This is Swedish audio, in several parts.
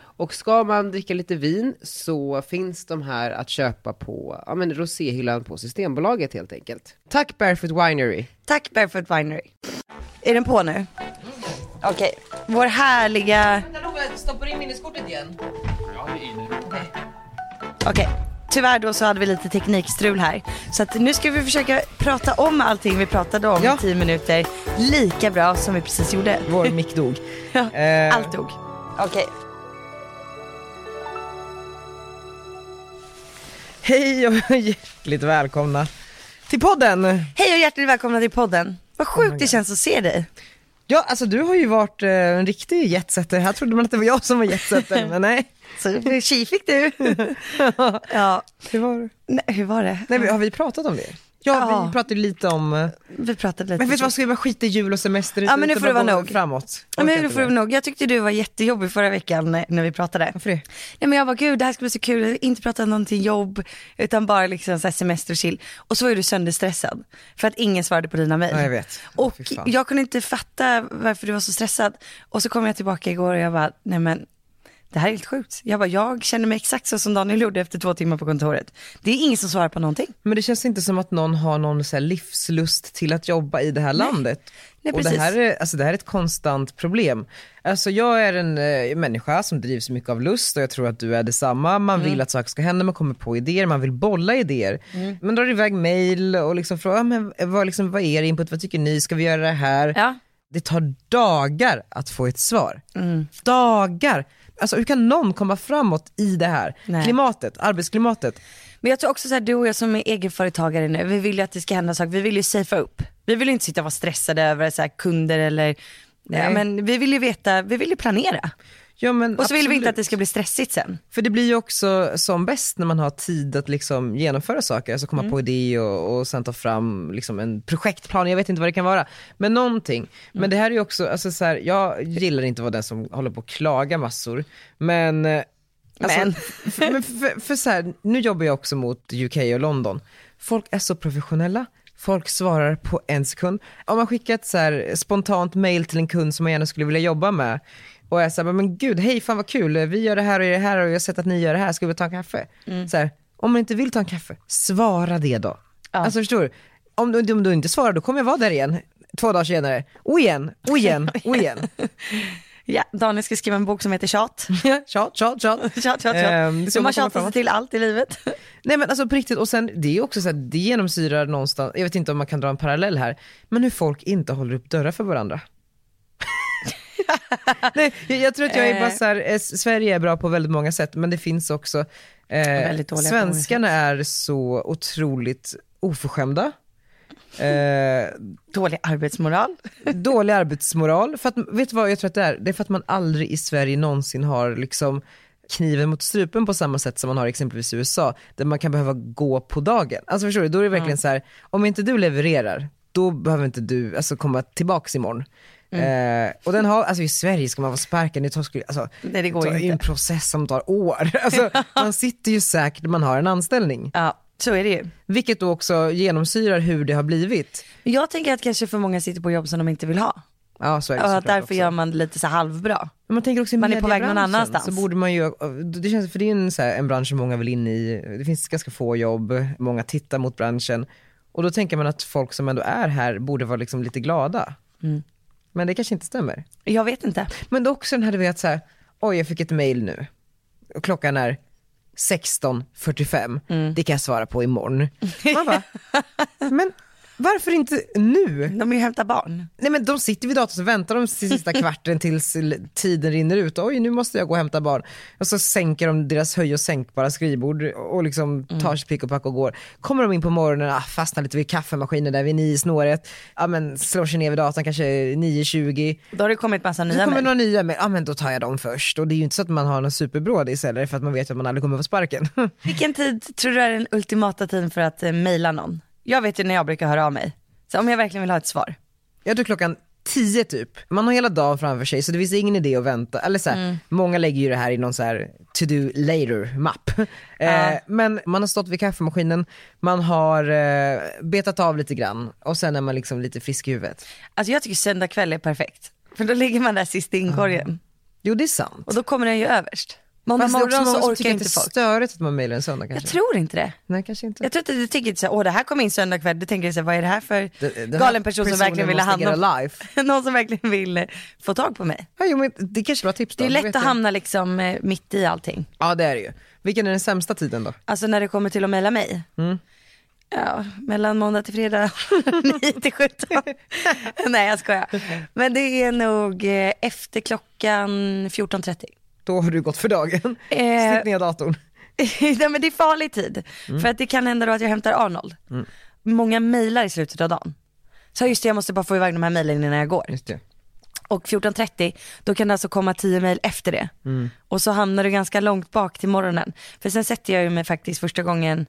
Och ska man dricka lite vin så finns de här att köpa på ja, men roséhyllan på Systembolaget helt enkelt. Tack Barefoot Winery! Tack Barefoot Winery. Är den på nu? Okej, vår härliga... Stoppar in minneskortet igen? Okej, tyvärr då så hade vi lite teknikstrul här. Så att nu ska vi försöka prata om allting vi pratade om Ja. i 10 minuter lika bra som vi precis gjorde. Vår mick dog. Ja, Eh. Allt dog. Okej. Hej och hjärtligt välkomna till podden! Hej och hjärtligt välkomna till podden. Vad Oh sjukt det känns att se dig. Ja, alltså du har ju varit eh, en riktig jetsetter. Här trodde man att det var jag som var jetsetter, men nej. Så tji fick du. ja. Det var... Nej, hur var det? nej men har vi pratat om det? Ja, Ja. vi pratade lite om... eh, Vi pratade lite. Men vet du vad, ska vi bara skita i jul och semester? Ja, men nu utan får det bara vara gå nog. Framåt. Ja, men Orkar det inte får du mer. nog. Jag tyckte du var jättejobbig förra veckan eh, när vi pratade. Varför det? Nej men jag var gud det här ska bli så kul, inte prata om någonting jobb utan bara liksom så här semester och chill. Och så var ju du sönderstressad för att ingen svarade på dina mejl. Ja, jag vet. Och Fy fan. jag kunde inte fatta varför du var så stressad. Och så kom jag tillbaka igår och jag bara, nej men det här är helt sjukt. Jag bara, jag känner mig exakt så som Daniel gjorde efter två timmar på kontoret. Det är ingen som svarar på någonting. Men det känns inte som att någon har någon så här livslust till att jobba i det här landet. Nej, och det precis. här, är, alltså det här är ett konstant problem. Alltså jag är en eh, människa som drivs mycket av lust och jag tror att du är detsamma. Man Mm. vill att saker ska hända, man kommer på idéer, man vill bolla idéer. Mm. Man drar iväg mail och liksom frågar, "Ah, men vad, liksom, vad är er input, vad tycker ni, ska vi göra det här? Ja. Det tar dagar att få ett svar. Mm. Dagar! Alltså hur kan någon komma framåt i det här? Nej. Klimatet, arbetsklimatet. Men jag tror också så här, du och jag som är egenföretagare nu, vi vill ju att det ska hända saker, vi vill ju safea upp. Vi vill ju inte sitta och vara stressade över så här, kunder eller, ja, men vi vill ju veta, vi vill ju planera. Ja, men Och så vill vi inte absolut. att det ska bli stressigt sen. För det blir ju också som bäst när man har tid att liksom genomföra saker, alltså komma på idéer och, och sen ta fram liksom en projektplan, jag vet inte vad det kan vara, men någonting. Men det här är ju också, alltså så här, jag gillar inte att vara den som håller på och klagar massor, men eh, Alltså, Men. för, men för, för så här, nu jobbar jag också mot UK och London. Folk är så professionella, folk svarar på en sekund. Om man skickar ett så här spontant mail till en kund som man gärna skulle vilja jobba med och är så här, men gud, hej fan vad kul, vi gör det här och det här och jag har sett att ni gör det här, ska vi ta en kaffe? Så här, om man inte vill ta en kaffe, svara det då. Alltså förstår du? Om, du- om du inte svarar då kommer jag vara där igen, två dagar senare, och igen, och igen, och igen. Ja, Daniel ska skriva en bok som heter Tjat. tjat, tjat, tjat. Tjat, tjat, tjat. Ehm, det är så Hur man man kommer tjatar sig framåt. till allt i livet. Nej men alltså på riktigt, och sen det är också så här, det genomsyrar någonstans, jag vet inte om man kan dra en parallell här, men hur folk inte håller upp dörrar för varandra. Nej, jag, jag tror att jag är bara så här, eh, Sverige är bra på väldigt många sätt, men det finns också, eh, väldigt dåliga på många svenskarna är så otroligt oförskämda. Eh, Dålig arbetsmoral. dålig arbetsmoral. För att, vet du vad jag tror att det är? Det är för att man aldrig i Sverige någonsin har liksom kniven mot strupen på samma sätt som man har exempelvis i USA, där man kan behöva gå på dagen. Alltså förstår du, då är det verkligen så här, om inte du levererar, då behöver inte du alltså, komma tillbaks imorgon. Eh, och den har, alltså i Sverige ska man vara sparken, det tar, skulle- alltså, Mm. Nej, det går tar, ju är en inte. process som tar år. Alltså, man sitter ju säkert, man har en anställning. Ja, så är det ju. Vilket då också genomsyrar hur det har blivit. Men Jag tänker att kanske för många sitter på jobb som de inte vill ha. Ja, så är det Och att såklart därför också. gör man lite så här halvbra. Men man tänker också i Man är på väg någon mediebranschen annanstans. Så borde man ju, det känns, för det är en, så här, en bransch som många vill in i, det finns ganska få jobb, många tittar mot branschen. Och då tänker man att folk som ändå är här borde vara liksom lite glada. Mm. Men det kanske inte stämmer. Jag vet inte. Men det är också den här du vet så här, oj jag fick ett mail nu. Och klockan är Mm. 16.45, det kan jag svara på imorgon. Man bara, men Varför inte nu? De är ju hämta barn. Nej men de sitter vid datorn och väntar de sista kvarten tills l- tiden rinner ut. Oj, nu måste jag gå och hämta barn. Och så sänker de deras höj och sänkbara skrivbord och liksom tar sitt pick och pack och går. Kommer de in på morgonen, ah, fastnar lite vid kaffemaskinen där vid nio i snåret. Ja men slår sig ner vid datorn kanske 9.20. Då har det kommit massa Nu nya kommer mejl. några nya med, ja men då tar jag dem först. Och det är ju inte så att man har någon superbrådis heller för att man vet ju att man aldrig kommer få sparken. Vilken tid tror du är den ultimata tiden för att eh, mejla någon? Jag vet ju när jag brukar höra av mig. Så om jag verkligen vill ha ett svar. Jag tror klockan 10 typ. Man har hela dagen framför sig så det finns ingen idé att vänta. Eller så här, Mm. Många lägger ju det här i någon så här to do later-mapp. Eh, men man har stått vid kaffemaskinen, man har eh, betat av lite grann och sen är man liksom lite frisk i huvudet. Alltså jag tycker söndag kväll är perfekt. För då ligger man där sist i inkorgen. Jo det är sant. Och då kommer den ju överst. Måndag Fast det är också morgon många så som orkar tycker att inte det är folk. störigt att man mejlar en söndag Jag kanske. tror inte det. Nej kanske inte. Jag tror inte du tänker inte så här, åh det här kom in söndag kväll, du tänker så här, vad är det här för Den- den här galen person som personen verkligen vill ha måste hand om, get a life. någon som verkligen vill eh, få tag på mig. Ja, jo, men det är kanske är bra tips då. Det är då lätt vet att jag. hamna liksom eh, mitt i allting. Ja det är det ju. Vilken är den sämsta tiden då? Alltså när det kommer till att mejla mig. Ja, mellan måndag till fredag 9 till 17. Nej jag skojar. Men det är nog eh, efter klockan 14.30. Då har du gått för dagen. Eh. Snitt ner datorn. Nej men det är farlig tid. För att det kan hända då att jag hämtar Arnold. Många mejlar i slutet av dagen. Så just det, jag måste bara få iväg de här mejlen innan jag går. Just det. Och 14.30, då kan det alltså komma 10 mejl efter det. Och så hamnar du ganska långt bak till morgonen. För sen sätter jag ju mig faktiskt första gången,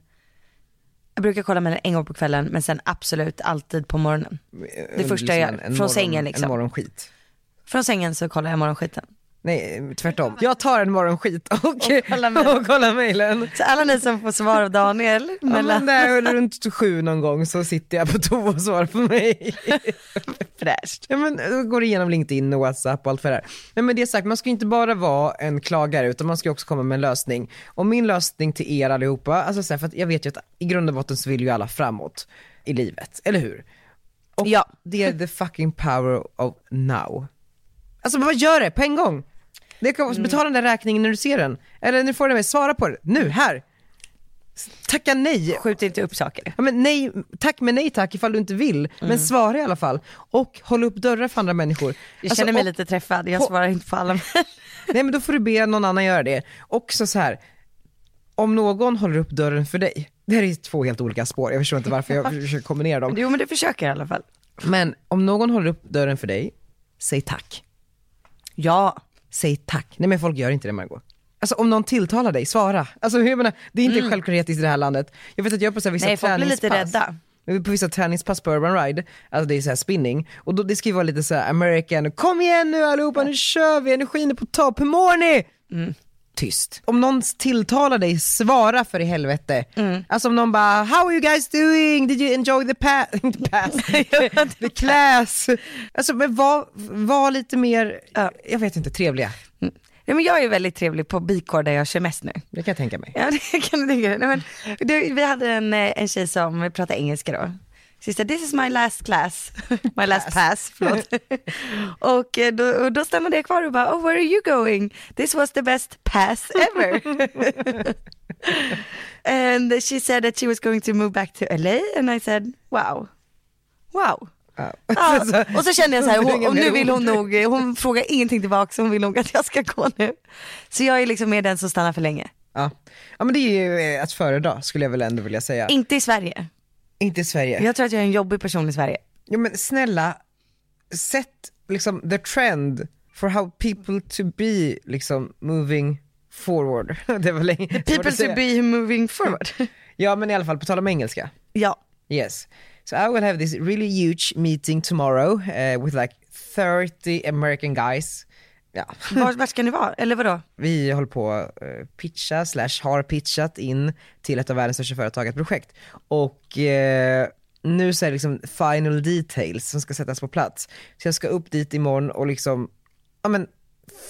jag brukar kolla mejlen en gång på kvällen men sen absolut alltid på morgonen. Det första jag gör, från sängen eh, En liksom. morgonskit. Från sängen så kollar jag morgonskiten. Nej, eh, tvärtom. Jag tar en morgonskit och, kollar mejlen. och kollar mejlen. Så alla ni som får svar av Daniel, Ja, mellan men där runt sju någon gång så sitter jag på toa och svarar på mig. fräscht. Ja, men, då går igenom LinkedIn och WhatsApp och allt för det där. Nej, men det sagt, man ska ju inte bara vara en klagare utan man ska ju också komma med en lösning. Och min lösning till er allihopa, alltså så här, för att jag vet ju att i grund och botten så vill ju alla framåt i livet, eller hur? Och Ja. det är the fucking power of now. Alltså vad gör det på en gång? Det kan, betala den där räkningen när du ser den. Eller när du får den med, svara på det. Nu, här! Tacka nej Skjut inte upp saker. Ja, men nej, tack men nej tack ifall du inte vill. Men Mm. svara i alla fall. Och håll upp dörrar för andra människor. Jag Alltså, känner mig och- lite träffad, jag på- svarar inte på alla mejl. Nej men då får du be någon annan göra det. Också så här, om någon håller upp dörren för dig. Det här är ju två helt olika spår, jag förstår inte varför jag försöker kombinera dem. Jo men du försöker i alla fall. Men om någon håller upp dörren för dig, säg tack. Ja. Säg tack. Nej men folk gör inte det Margot. Alltså om någon tilltalar dig, svara. Alltså jag menar, det är inte självklart i det här landet. Jag vet att jag är på så här vissa Mm. Nej, folk blir lite träningspass. rädda. Vi är på vissa träningspass på Urban Ride, alltså det är så här spinning, och då, det ska ju vara lite så här American, kom igen nu allihopa, nu kör vi, energin är på topp, hur mår ni? Mm. Tyst. Om någon tilltalar dig, svara för i helvete. Mm. Alltså om någon bara, how are you guys doing? Did you enjoy the, pa- the pass? the class? Alltså men var, var lite mer, Ja. jag vet inte, trevliga. Nej, Mm. men jag är väldigt trevlig på Bikår där jag kör mest nu. Det kan jag tänka mig. Ja, det kan du tänka dig. Nej, men, du, vi hade en, eh, en tjej som pratade engelska då. Sista, this is my last class, my last pass, förlåt. och, eh, då, och då stannade jag kvar och bara, oh where are you going? This was the best pass ever. and she said that she was going to move back to LA and I said, wow, wow. Ja. Ja, och så kände jag så här, hon, och nu mer vill ord. hon nog, hon frågar ingenting tillbaka, så hon vill nog att jag ska gå nu. Så jag är liksom med den som stannar för länge. Ja. ja men det är ju eh, att föredra skulle jag väl ändå vilja säga. Inte i Sverige. inte i Sverige. Jag tror att jag är en jobbig person i Sverige. Ja men snälla, sätt liksom the trend for how people to be liksom moving forward. Det var länge svårt att People to säga. be moving forward. Ja men i alla fall, på tal om engelska. Mm. ja. Yes. So I will have this really huge meeting tomorrow eh, with like 30 American guys. Ja, Var, var ska ni vara? Eller vadå? vi håller på att eh, pitcha, slash har pitchat in till ett av världens största företag, ett projekt. Och eh, nu så är det liksom final details som ska sättas på plats. Så jag ska upp dit imorgon och liksom, ja men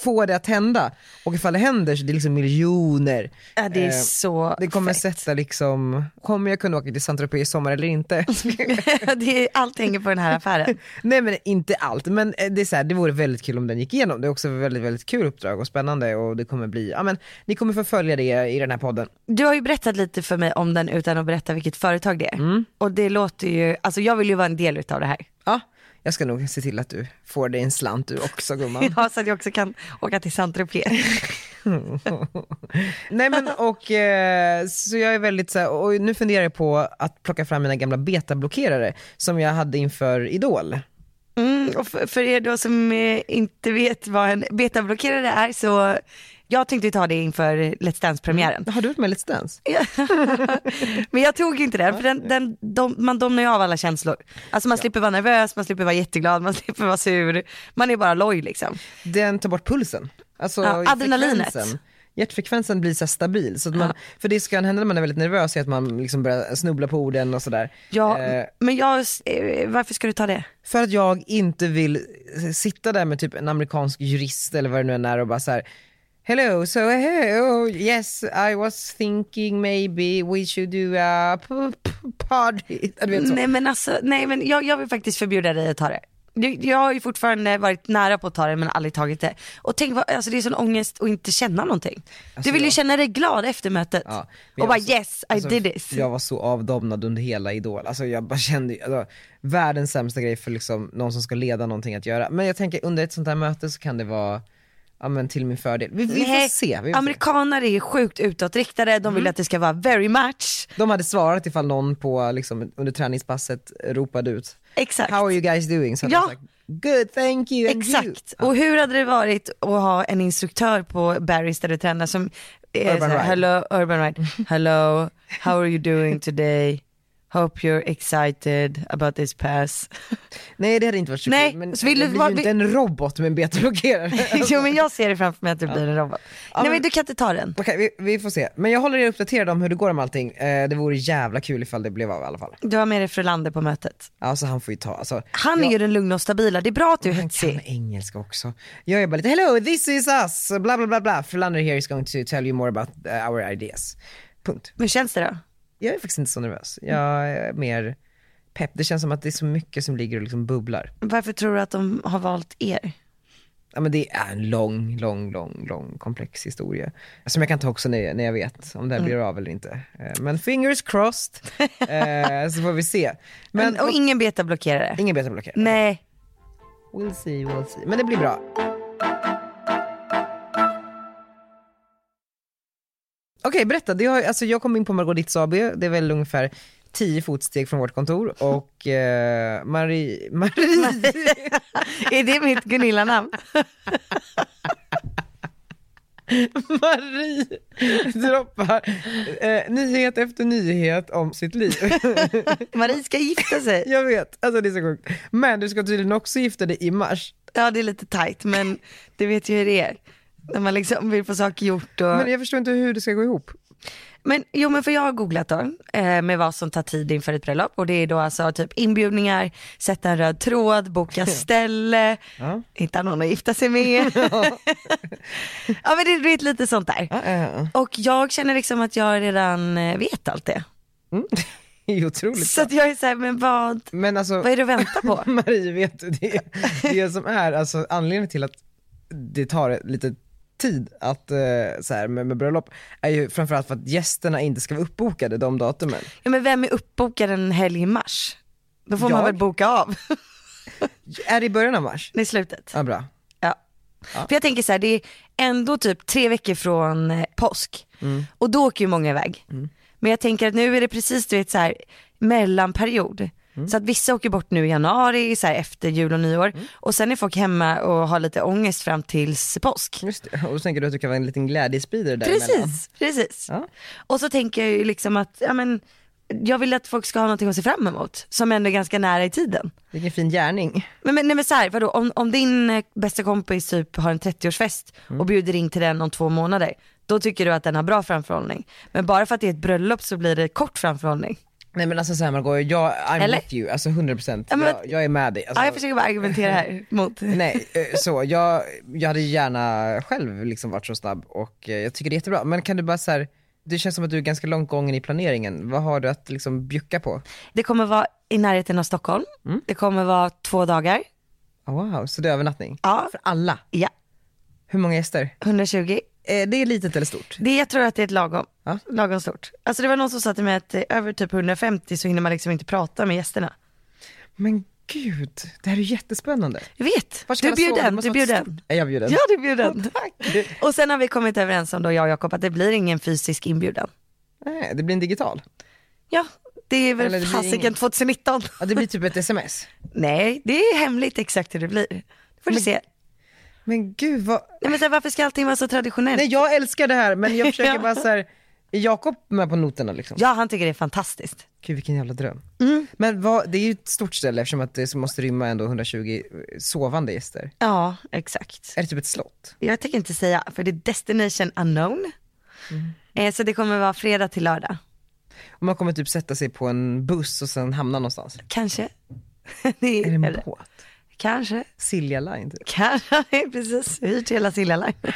få det att hända. Och ifall det händer så är det liksom miljoner. Ja, det är Eh, så Det kommer fett. sätta liksom, kommer jag kunna åka till Saint-Tropez i sommar eller inte? det är, allt hänger på den här affären. Nej men inte allt, men eh, det är så här, det vore väldigt kul om den gick igenom. Det är också ett väldigt, väldigt kul uppdrag och spännande och det kommer bli, ja men ni kommer få följa det i den här podden. Du har ju berättat lite för mig om den utan att berätta vilket företag det är. Och det låter ju, alltså jag vill ju vara en del utav det här. Ja, jag ska nog se till att du får dig en slant du också gumman. Ja, så att jag också kan åka till saint -Tropez. Nej men och eh, så jag är väldigt så här, och nu funderar jag på att plocka fram mina gamla betablockerare som jag hade inför Idol. Mm, och för, för er då som eh, inte vet vad en betablockerare är så jag tänkte ju ta det inför Let's Dance-premiären. Har du varit med i Let's Dance? Men jag tog ju inte den för den, den, dom- man domnar ju av alla känslor. Alltså man slipper vara nervös, man slipper vara jätteglad, man slipper vara sur. Man är bara loj liksom. Den tar bort pulsen. Alltså Ja, adrenalinet. frekvensen. Hjärtfrekvensen blir så här stabil. Så att man, För det som kan hända när man är väldigt nervös är att man liksom börjar snubbla på orden och sådär. Ja, Eh, men jag, eh, varför ska du ta det? För att jag inte vill s- sitta där med typ en amerikansk jurist eller vad det nu än är och bara så här. Hello, so eh, oh, yes I was thinking maybe we should do a p- p- party. Ja, Du vet så. Nej men alltså, nej men jag, jag vill faktiskt förbjuda dig att ta det. Jag, jag har ju fortfarande varit nära på att ta det men aldrig tagit det. Och tänk vad, alltså det är sån ångest att inte känna någonting. du vill Alltså ju jag- känna dig glad efter mötet. Ja, men jag och bara var så- yes, I alltså, did this. Jag var så avdomnad under hela Idol. Alltså jag bara kände, ju- alltså, världens sämsta grej för liksom någon som ska leda någonting att göra. Men jag tänker under ett sånt här möte så kan det vara, ja men till min fördel. Vi, vi får Nej, se. Mm. Vi får se. Amerikaner är sjukt utåtriktade, de vill att det ska vara very much. De hade svarat ifall någon på, liksom, under träningspasset ropade ut Exakt. How are you guys doing? Så hade de Ja. sagt, Good, thank you. Ah. and you." Exakt. Och hur hade det varit att ha en instruktör på Barry's där du tränar som är Urban så här, Ride. hello, Urban Ride, hello, how are you doing today? Hope you're excited about this pass. Nej det hade inte varit så Nej, kul, men så vill det du blir vara- ju inte en robot med en betablockerare. jo men jag ser det framför mig att du blir en robot. Nej men- men du kan inte ta den. Okej, vi, vi får se. Men jag håller er uppdaterade om hur det går med allting. Eh, det vore jävla kul ifall det blev av i alla fall. Du har med dig Frölander på mötet. Alltså han får ju ta, alltså, Han är ju den lugna och stabila, det är bra att du är han kan hetsig. engelska också. Jag är bara lite, hello this is us, bla bla bla bla. Frölander here is going to tell you more about eh, our ideas. Punkt. Hur känns det då? Jag är faktiskt inte så nervös. Jag är mer pepp. Det känns som att det är så mycket som ligger och liksom bubblar. Varför tror du att de har valt er? Ja, men det är en lång, lång, lång, lång komplex historia. Som jag kan ta också när jag, när jag vet om det här blir av eller inte. Eh, Men fingers crossed, eh, så får vi se. Men, Men, och ingen betablockerare? ingen betablockerare. Nej. We'll see, we'll see. Men det blir bra. Okej, berätta. Det har, alltså, jag kom in på Margaux AB, det är väl ungefär 10 fotsteg från vårt kontor och eh, Marie, Marie, Är det mitt Gunilla-namn? Marie droppar eh, nyhet efter nyhet om sitt liv. Marie ska gifta sig. jag vet, alltså det är så sjukt. Men du ska tydligen också gifta dig i mars. Ja det är lite tajt men du vet ju hur det är. När man liksom vill få saker gjort och... Men Men, jag förstår inte hur det ska gå ihop. jo men för jag har googlat då eh, med vad som tar tid inför ett bröllop och det är då alltså typ inbjudningar, sätta en röd tråd, boka ställe, Ja. hitta någon att gifta sig med. ja men det är du vet, lite sånt där. Ja, ja, ja. Och jag känner liksom att jag redan eh, vet allt det. Det är otroligt. Så att jag är såhär, men vad, Men alltså, vad är det att vänta på? Marie, vet du, det, det som är alltså, anledningen till att det tar lite tid att, eh, så här, med, med bröllop är ju framförallt för att gästerna inte ska vara uppbokade de datumen. Ja men vem är uppbokad en helg i mars? Då får man Jag? väl boka av. Är det i början av mars? det är slutet. Ja, bra. Ja. För jag tänker så här, det är ändå typ tre veckor från eh, påsk och då åker ju många iväg. Men jag tänker att nu är det precis du vet så här mellanperiod. Så att vissa åker bort nu i januari, så här efter jul och nyår och sen är folk hemma och har lite ångest fram tills påsk. Just det. Och då tänker du att du kan vara en liten glädjespridare däremellan. Precis, precis. Ja. Och så tänker jag ju liksom att, ja men jag vill att folk ska ha någonting att se fram emot som ändå är ganska nära i tiden. Vilken fin gärning. Men, men, nej, men så här, vadå, om, om din eh, bästa kompis typ har en 30-årsfest Mm. och bjuder in till den om två månader, då tycker du att den har bra framförhållning. Men bara för att det är ett bröllop så blir det kort framförhållning. Nej men alltså såhär Margot, jag, I'm Eller? with you, alltså 100%. Ja, men- jag, jag är med dig. Alltså, Ja, jag försöker bara argumentera här mot. Nej, eh, så jag, jag hade ju gärna själv liksom varit så snabb och eh, jag tycker det är jättebra. Men kan du bara såhär, det känns som att du är ganska långt gången i planeringen. Vad har du att liksom bjucka på? Det kommer vara i närheten av Stockholm. Mm. Det kommer vara två dagar. Ah, Wow, så det är övernattning? Ja. För alla? Ja, Hur många gäster? 120. Eh, det är litet eller stort? Det, jag tror att det är ett lagom, Ja. lagom stort. Alltså det var någon som sa till mig att eh, över typ 150 så hinner man liksom inte prata med gästerna. Men gud, det här är ju jättespännande. Jag vet, Var ska du är alla sova? Det bjuden, måste du är vara ett bjuden. stort- Är jag bjuden? Ja du är bjuden. Tack. Och sen har vi kommit överens om då jag och Jakob att det blir ingen fysisk inbjudan. Nej, det blir en digital. Ja, det är Eller det väl blir fasiken ingen- 2019. Ja, det blir typ ett sms. Nej, det är hemligt exakt hur det blir. Det får du se. Men gud vad... Nej men så här, varför ska allting vara så traditionellt? Nej jag älskar det här men jag försöker Ja. bara så här. är Jakob med på noterna liksom? Ja, han tycker det är fantastiskt. Gud vilken jävla dröm. Mm. Men vad, det är ju ett stort ställe eftersom att det måste rymma ändå 120 sovande gäster. Ja, exakt. Är det typ ett slott? Jag tänker inte säga, för det är destination unknown. Mm. Eh, så det kommer vara fredag till lördag. Och man kommer typ sätta sig på en buss och sen hamna någonstans. Kanske. det Är det en eller- båt? Kanske. Silja Line typ. Kanske, precis. Hyrt hela Silja Line.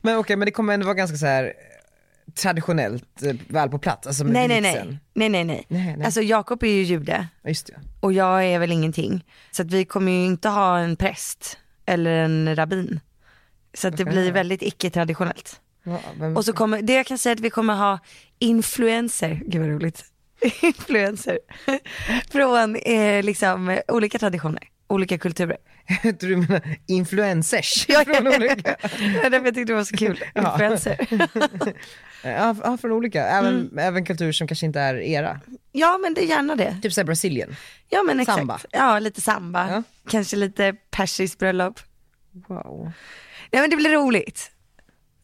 Men okej, men det kommer ändå vara ganska så här eh, traditionellt eh, väl på plats. Alltså med Nej, nej, vigseln. nej. Nej, nej, nej. Nej, nej. Alltså Jakob är ju jude Ja, just det. och jag är väl ingenting. Så att vi kommer ju inte ha en präst eller en rabbin. Så att det blir väldigt icke-traditionellt. Ja, vem, Och så kommer, det jag kan säga är att vi kommer ha influenser, gud vad roligt. influenser. Från eh, liksom eh, olika traditioner, olika kulturer. jag tror du menar influencers. Ja, från olika. Det var därför jag tyckte det var så kul. Ja. Influencer. Ja, f- ja, från olika. Även, Mm. även kultur som kanske inte är era. Ja men det är gärna det. Typ såhär Brasilien. Ja men exakt. Samba. Ja lite samba. Ja. Kanske lite persiskt bröllop. Wow. Nej men det blir roligt.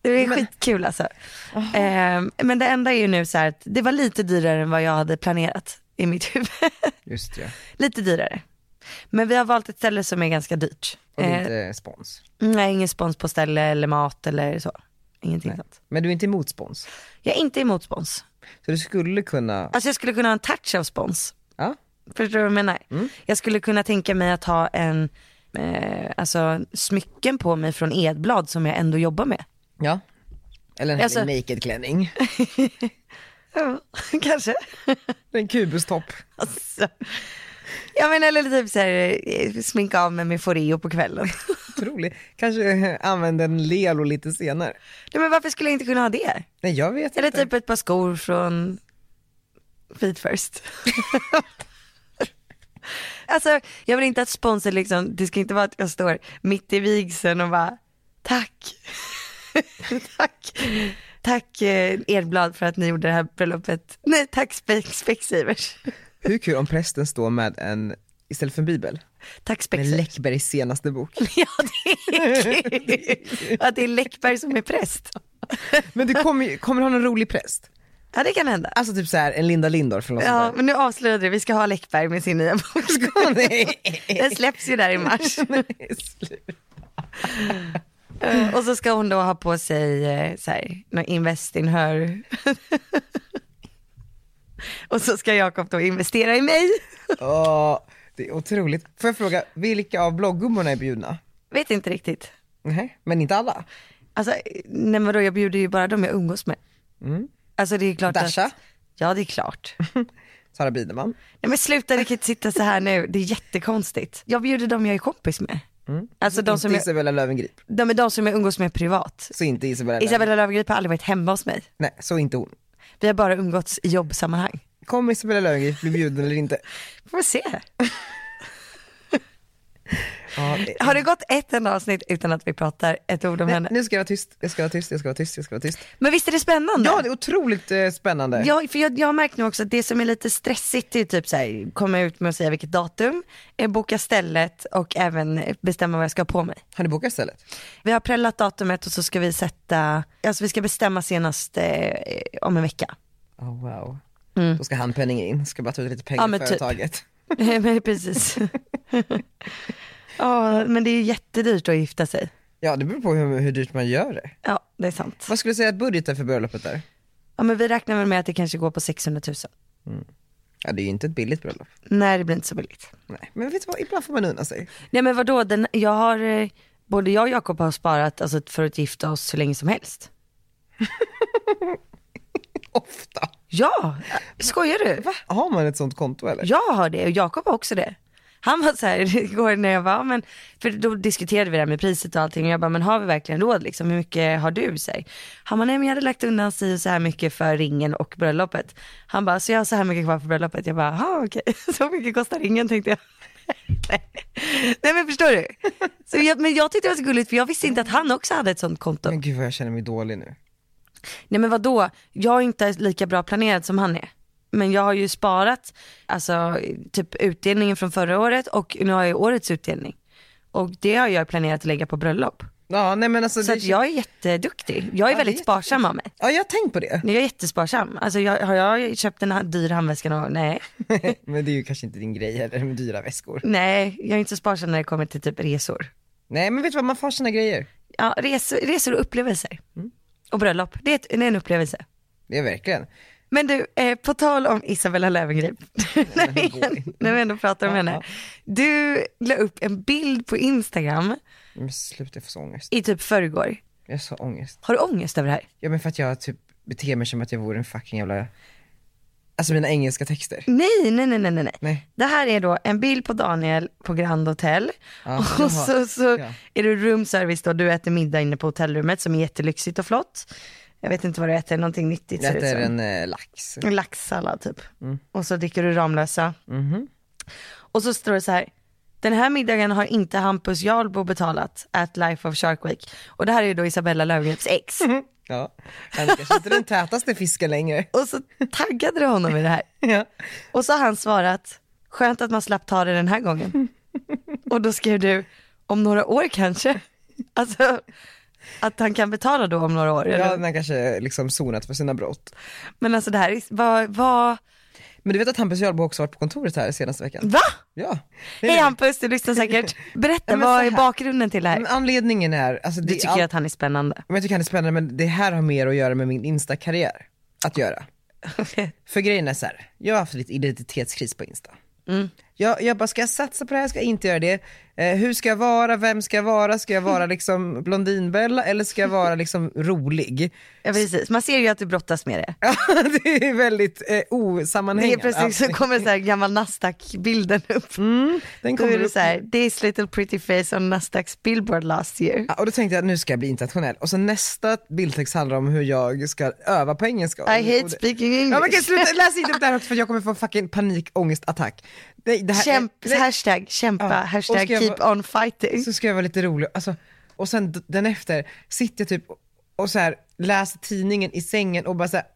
Det blir skitkul alltså. Ehm, men det enda är ju nu så här att det var lite dyrare än vad jag hade planerat i mitt huvud. Just det. lite dyrare. Men vi har valt ett ställe som är ganska dyrt. Och det är Eh, inte spons. Nej, ingen spons på ställe eller mat eller så. Ingenting sånt. Men du är inte emot spons. Jag är inte emot spons. Så du skulle kunna, Alltså jag skulle kunna ha en touch av spons. ja, Mm. Förstår du vad jag menar? Jag skulle kunna tänka mig att ha en, eh, alltså smycken på mig från Edblad som jag ändå jobbar med. ja. Eller en Alltså- alltså... naked klänning. Ja, kanske. En kubustopp. Alltså. Ja men eller typ så här, eh, sminka av mig med Foreo på kvällen. Otroligt. Kanske eh, använda en lelo lite senare. Nej men varför skulle jag inte kunna ha det? Nej jag vet Eller inte. typ ett par skor från Feet First. alltså jag vill inte att sponsor liksom, det ska inte vara att jag står mitt i vigseln och bara tack. tack. Tack eh, Edblad för att ni gjorde det här bröllopet. Nej tack Spex- Spexivers. Hur kul om prästen står med en, istället för en bibel, Tack med Spexivers. Läckbergs senaste bok. ja det är kul. Och att det är Läckberg som är präst. Men du kommer, ju- kommer du ha någon rolig präst? Ja det kan hända. Alltså typ så här en Linda Lindorff eller något Ja sånt men nu avslöjade du, vi ska ha Läckberg med sin nya bok. där. Nej. Den släpps ju där i mars. Nej, sluta. Eh, Och så ska hon då ha på sig eh, så här, någon invest in her. Och så ska Jakob då investera i mig. Åh, det är otroligt. Får jag fråga, vilka av bloggummorna är bjudna? Vet inte riktigt. Nej, men inte alla? Alltså, eh, nej men då, jag bjuder ju bara dem jag umgås med. Alltså det är ju klart Mm. Dasha? att. Ja det är klart. Sara Biderman? Nej men sluta, ni kan inte sitta så här nu. Det är jättekonstigt. Jag bjuder dem jag är kompis med. Alltså de som, Mm. inte jag, Isabella Löwengrip. de, är de som jag umgås med privat. Så inte Isabella, Löwengrip. Isabella Löwengrip har aldrig varit hemma hos mig. Nej, så inte hon. Vi har bara umgåtts i jobbsammanhang. Kommer Isabella Löwengrip bli bjuden eller inte? Får vi se. Ja, det- Har det gått ett enda avsnitt utan att vi pratar ett ord om henne? nu ska jag vara tyst, jag ska vara tyst, jag ska vara tyst, jag ska vara tyst. Men visst är det spännande? Ja, det är otroligt eh, spännande. Ja, för jag, jag har märkt nu också att det som är lite stressigt är ju typ så här, komma ut med att säga vilket datum, eh, boka stället och även bestämma vad jag ska ha på mig. Har ni bokat stället? Vi har prällat datumet och så ska vi sätta, alltså vi ska bestämma senast eh, om en vecka. Oh, wow. Då ska han penningen in, ska bara ta ut lite pengar Mm. Ja, från men typ. företaget. men precis. Ja, men det är ju jättedyrt att gifta sig. Ja, det beror på hur, hur dyrt man gör det. Ja, det är sant. Vad skulle du säga att budgeten för bröllopet är? Ja, men vi räknar väl med att det kanske går på 600 000. Ja, det är ju inte ett billigt bröllop. Nej det blir inte så billigt. Nej. Men vet du vad, ibland får man unna sig. Nej men vadå, den, jag har, eh, både jag och Jakob har sparat alltså, för att gifta oss så länge som helst. Ofta. Ja, skojar du? Va? Har man ett sånt konto eller? Jag har det och Jakob har också det. Han var så här igår när jag var, men, för då diskuterade vi det här med priset och allting och jag bara, men har vi verkligen råd liksom? Hur mycket har du? Så här. Han bara, nej men jag hade lagt undan sig och så här mycket för ringen och bröllopet. Han bara, så jag har så här mycket kvar för bröllopet? Jag bara, jaha okej, så mycket kostar ringen tänkte jag. nej. nej men förstår du? Så jag, men jag tyckte det var så gulligt för jag visste inte att han också hade ett sånt konto. Men gud vad jag känner mig dålig nu. Nej men vadå, jag är inte lika bra planerad som han är. Men jag har ju sparat alltså, typ utdelningen från förra året och nu har jag årets utdelning. Och det har jag planerat att lägga på bröllop. Ja, nej men alltså. Så att jag är jätteduktig. Jag är är väldigt sparsam av mig. Ja, jag har tänkt på det. Nej, Jag är jättesparsam. Alltså, jag, har jag köpt en ha- dyr handväska någon gång? Nej. men det är ju kanske inte din grej heller med dyra väskor. Nej, jag är inte så sparsam när det kommer till typ resor. Nej, men vet du vad, man får sina grejer. Ja, resor, resor och upplevelser. Och bröllop, det är, ett, det är en upplevelse. Det är verkligen. Men du, eh, på tal om Isabella Löwengrip, när, vi- det går inte. när vi ändå pratar om Ja, henne. ja. Du la upp en bild på Instagram Men sluta, jag får så ångest. i typ förrgår. Jag har så ångest. Har du ångest över det här? Ja men för att jag typ beter mig som att jag vore en fucking jävla, alltså mina engelska texter. Nej, nej, nej, nej, nej. nej. Nej. Det här är då en bild på Daniel på Grand Hotel Ja, jaha. och så, så Ja. är det roomservice då, du äter middag inne på hotellrummet som är jättelyxigt och flott. Jag vet inte vad du äter, någonting nyttigt Jag ser det ut äter som. en Mm. eh, lax. En laxsallad typ. Och så dricker du Ramlösa. Mhm. Och så står det så här. Den här middagen har inte Hampus Jarlbo betalat at Life of Shark Week. Och det här är ju då Isabella Löwengrips ex. Mhm. Ja. Han är kanske inte den tätaste fisken längre. Och så taggade du honom i det här. Ja. Och så har han svarat, skönt att man slapp ta det den här gången. Och då skrev du, om några år kanske. Alltså, att han kan betala då om några år. Ja, Eller? den har kanske liksom sonat för sina brott. Men alltså det här, är- vad, vad, Men du vet att Hampus Jarlbo också varit på kontoret här senaste veckan? va? Ja. Hej Hampus, du lyssnar säkert. Berätta, Ja, men vad så är här. bakgrunden till det här? Men anledningen är, alltså det, Du tycker att han är spännande. men jag tycker han är spännande men det här har mer att göra med min instakarriär att göra. För grejen är så här, jag har haft lite identitetskris på Insta. Mm. Jag, jag bara, ska jag satsa på det här, ska jag inte göra det? Eh, hur ska jag vara, vem ska jag vara, ska jag vara liksom Blondinbella eller ska jag vara liksom rolig? Ja, precis. Man ser ju att du brottas med det. Ja, det är väldigt eh, Det är osammanhängande. precis, så kommer så här gammal Nasdaq-bilden upp. Mm, den Då kommer är det upp. så här, this little pretty face on Nasdaqs billboard last year. Ja, och då tänkte jag nu ska jag bli internationell och så nästa bildtext handlar om hur jag ska öva på engelska. Och- I och hate det- speaking Ja men kan English. sluta, läs inte upp det här också för jag kommer få en fucking panikångestattack. Det, det här, Kämp, nej, hashtag kämpa, Ja, och hashtag ska jag keep vara- on fighting. så ska jag vara lite rolig, alltså, och sen d- den efter sitter jag typ och så här, läser tidningen i sängen och bara så här,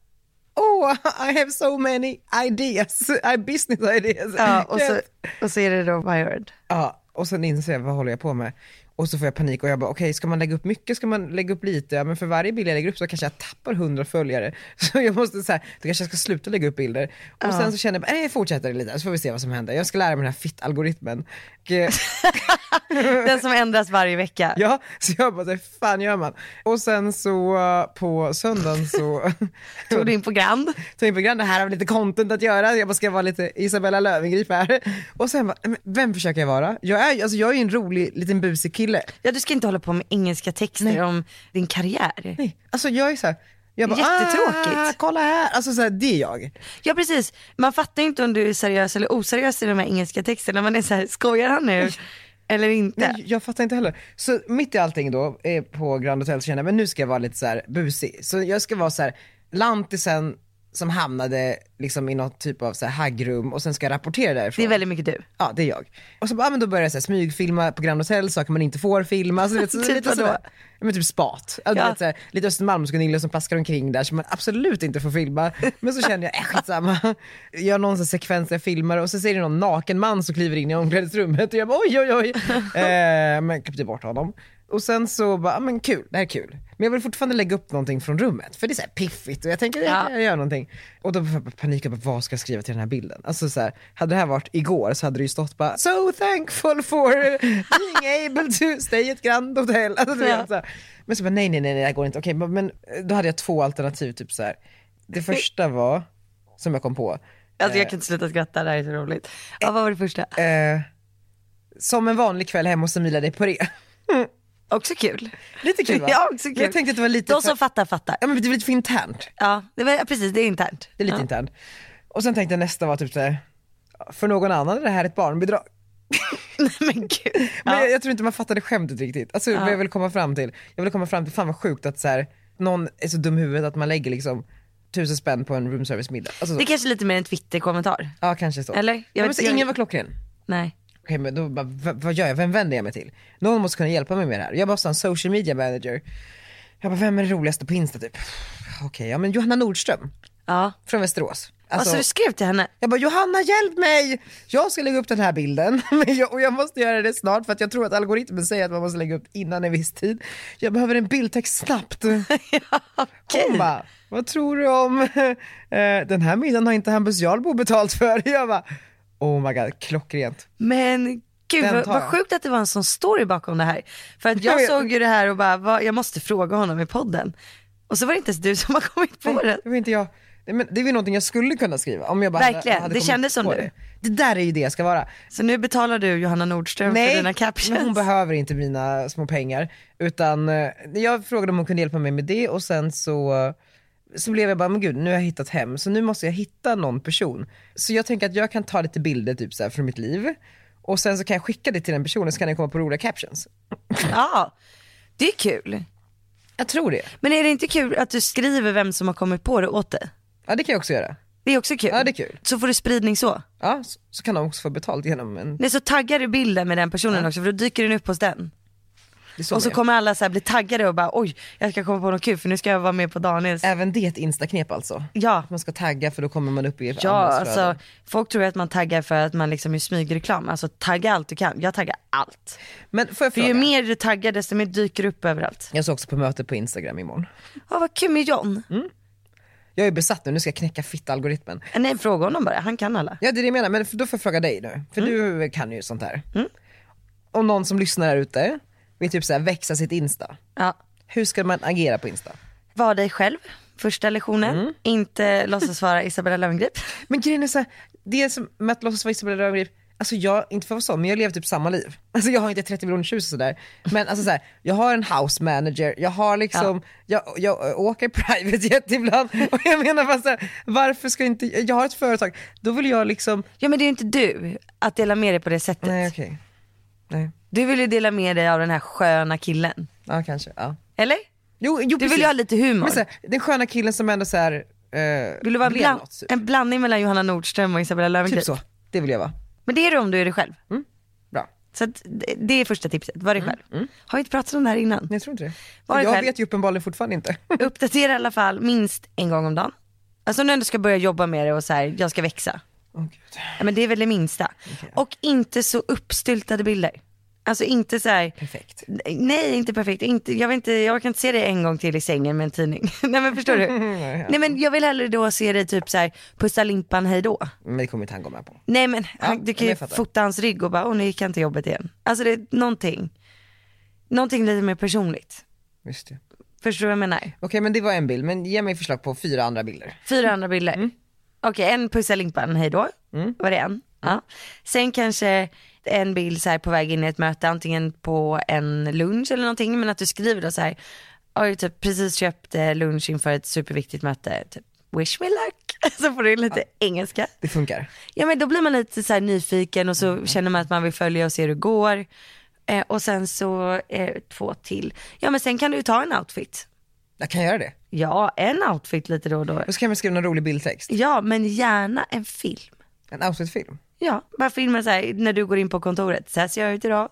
Oh, I have so many ideas, I business ideas. Ja, och, så, Yes. och så är det då my word. Ja, och sen inser jag vad håller jag på med? Och så får jag panik och jag bara okej, ska man lägga upp mycket, ska man lägga upp lite? Ja, men för varje bild jag lägger upp så kanske jag tappar 100 följare. Så jag måste så här, då kanske jag ska sluta lägga upp bilder. Och sen så känner jag bara, nej jag fortsätter lite så får vi se vad som händer. Jag ska lära mig den här fitt-algoritmen. Och, eh, Den som ändras varje vecka. ja, så jag bara, hur fan gör man? Och sen så eh, på söndagen så Tog du in på Grand. tog in på Grand, det här har väl lite content att göra, jag bara ska vara lite Isabella Löwengrip här. Och sen bara, men vem försöker jag vara? Jag är, ju- alltså, jag är ju en rolig liten busig kille. Ja, du ska inte hålla på med engelska texter om din karriär. Nej, alltså jag är så här, jag bara, Jättetråkigt. Ah, kolla här, alltså så här, det är jag. Ja precis, man fattar ju inte om du är seriös eller oseriös i de här engelska texterna. Man är så här, skojar han nu eller inte? Nej, jag fattar inte heller. Så mitt i allting då eh, på Grand Hotel så kände jag, men nu ska jag vara lite så här busig. Så jag ska vara så här lantisen som hamnade liksom i något typ av så här haggrum och sen ska jag rapportera därifrån. Det är väldigt mycket du. Ja, det är jag. Och så bara, ah, men då börjar jag så här, smygfilma på Grand Hotel, saker man inte får filma. Så, du vet, så, Typ lite vadå? sådär. Ja, men typ spat. Ja. du Ja. Vet, så här, lite Östermalmsgunilla som plaskar omkring där som man absolut inte får filma. Men så känner jag, äh, skitsamma. Jag har någon sån sekvens där jag filmar och så ser det någon naken man som kliver in i omklädningsrummet och jag bara oj oj oj. Eh, men klippte bort honom. Och sen så bara, ah, men kul, det här är kul. Men jag vill fortfarande lägga upp någonting från rummet för det är så här piffigt och jag tänker Ja. jag gör någonting. Och då får jag bara panik, jag bara, vad ska jag skriva till den här bilden? Alltså så här, hade det här varit igår så hade det ju stått bara so thankful for being able to stay at Grand Hotel. Alltså, du Ja. vet, så här. Men så bara nej nej nej, nej det här går inte, okej men- men eh, då hade jag två alternativ typ så här. Det första var, som jag kom på, Alltså jag kan inte sluta skratta, det här är så roligt. Ja, vad var det första? Eh, som en vanlig kväll hemma hos Emilia Di Poré. Också kul. Lite kul va? Ja, också kul. Jag tänkte att det var lite, De för, som fattar fattar. ja, men det var lite för internt. Ja, det var, ja, precis det är internt. Det är lite ja. internt. Och sen tänkte jag nästa var typ såhär, för någon annan är det här ett barnbidrag. Nej men gud. Men Ja. jag, jag tror inte man fattade skämtet riktigt. Alltså vad jag vill komma fram till, jag vill komma fram till, fan vad sjukt att så här, någon är så dum i huvudet att man lägger liksom tusen spänn på en roomservice middag. Alltså, så. Det är kanske är lite mer en Twitter-kommentar. Ja kanske så. Eller? Jag ja, men, vet- så jag- ingen var klockren. Nej. Okej men då bara, v- vad gör jag, vem vänder jag mig till? Någon måste kunna hjälpa mig med det här. Jag bara sa en social media manager. Jag bara, vem är det roligaste på Insta typ? Okej, ja men Johanna Nordström Ja. från Västerås. Alltså, du skrev till henne? Jag bara Johanna hjälp mig! Jag ska lägga upp den här bilden Men jag, och jag måste göra det snart för att jag tror att algoritmen säger att man måste lägga upp innan en viss tid. Jag behöver en bildtext snabbt. Hon bara, vad tror du om eh, den här middagen har inte Hampus Jarlbo betalt för. Jag bara, oh my god, klockrent. Men gud Den vad, tar vad jag. sjukt att det var en sån story bakom det här. För att jag Jag vet. såg ju det här och bara, vad, jag måste fråga honom i podden. Och så var det inte ens du som har kommit på det. Det var inte jag. Nej, Men det är väl någonting jag skulle kunna skriva om jag bara Verkligen, det kommit kändes som på du. Det. det där är ju det jag ska vara. Så nu betalar du Johanna Nordström för dina captions. men hon behöver inte mina små pengar. Utan eh, jag frågade om hon kunde hjälpa mig med det och sen så, så blev jag bara, men gud nu har jag hittat hem så nu måste jag hitta någon person. Så jag tänker att jag kan ta lite bilder typ så här, från mitt liv och sen så kan jag skicka det till den personen så kan den komma på roliga captions. Ja, det är kul. Jag tror det. Men är det inte kul att du skriver vem som har kommit på det åt dig? Ja det kan jag också göra. Det är också kul. Ja, det är kul. Så får du spridning så. Ja, så, så kan de också få betalt genom en... Nej, så taggar du bilden med den personen också för då dyker den upp hos den. Det är så och så man gör. kommer alla så här bli taggade och bara oj, jag ska komma på något kul för nu ska jag vara med på Daniels. Även det är ett instaknep alltså. Ja, Man ska tagga för då kommer man upp i Ja, andras alltså flöden. folk tror ju att man taggar för att man liksom är smygreklam. Alltså tagga allt du kan. Jag taggar allt. Men får jag För fråga? ju mer du taggar desto mer dyker upp överallt. Jag ska också på möte på Instagram imorgon. Ja, vad kul med John. Mm. Jag är besatt nu, nu ska jag knäcka fitta-algoritmen. Nej, fråga honom bara. Han kan alla. Ja det är det jag menar, men då får jag fråga dig nu, för du kan ju sånt här. Om någon som lyssnar här ute vill typ så här växa sitt Insta, Ja. hur ska man agera på Insta? Var dig själv. Första lektionen. Mm. Inte låtsas vara Isabella Löwengrip. Men grejen är så här, det är som med att låtsas vara Isabella Löwengrip, alltså jag, inte för att vara sån, men jag lever typ samma liv. Alltså jag har inte 30 miljoner tjus och sådär, men alltså så här, jag har en house manager, jag har liksom, jag, jag åker private jet ibland och jag menar bara så här, varför ska inte, jag har ett företag, då vill jag liksom, Ja men det är ju inte du att dela med dig på det sättet. nej okej, nej, Du vill ju dela med dig av den här sköna killen. ja kanske, ja. Eller? Jo, jo, Du precis. vill ju ha lite humor. Men så här, den sköna killen som ändå så här, eh, vill du vara en, blev bland- något, typ. en blandning mellan Johanna Nordström och Isabella Löwengrip? typ så. Det vill jag vara. Men det är du om du är dig själv. Bra. Så att det- det är första tipset, var Mm, dig själv. Har vi inte pratat om det här innan? Nej, jag tror inte det. Var det jag själv? vet ju uppenbarligen fortfarande inte. Uppdatera i alla fall minst en gång om dagen. Alltså om du ändå ska börja jobba med det och så här, jag ska växa. Åh, Gud. Ja, men det är väl det minsta. Och inte så uppstyltade bilder. Alltså inte så här, Perfekt. nej inte perfekt, inte, jag, vill inte, jag orkar inte se dig en gång till i sängen med en tidning. nej men förstår du? nej men jag vill hellre då se dig typ så här, pussa limpan hejdå. Men det kommer inte han gå med på. Nej men han, Ja, du kan ju jag fattar. fota hans rygg och bara, åh nu gick han till jobbet igen. Alltså det är någonting, någonting lite mer personligt. Just det. Förstår du vad jag menar? Okej, men det var en bild. Men ge mig förslag på fyra andra bilder. Fyra andra bilder. Okej, en puss i limpan, hej då. Var det en? Ja. Sen kanske en bild så här på väg in i ett möte, antingen på en lunch eller någonting, men att du skriver då så här, har ju typ precis köpt eh, lunch inför ett superviktigt möte, typ wish me luck. Så får du lite engelska. Det funkar. Ja men då blir man lite så här nyfiken och så känner man att man vill följa och se hur det går. Eh, och sen så eh, två till. Ja men sen kan du ju ta en outfit. Jag kan göra det. Ja, en outfit lite då och då. Och så kan man skriva någon rolig bildtext. Ja, men gärna en film. En outfitfilm. Ja, bara filma så här när du går in på kontoret. Så här ser jag ut idag.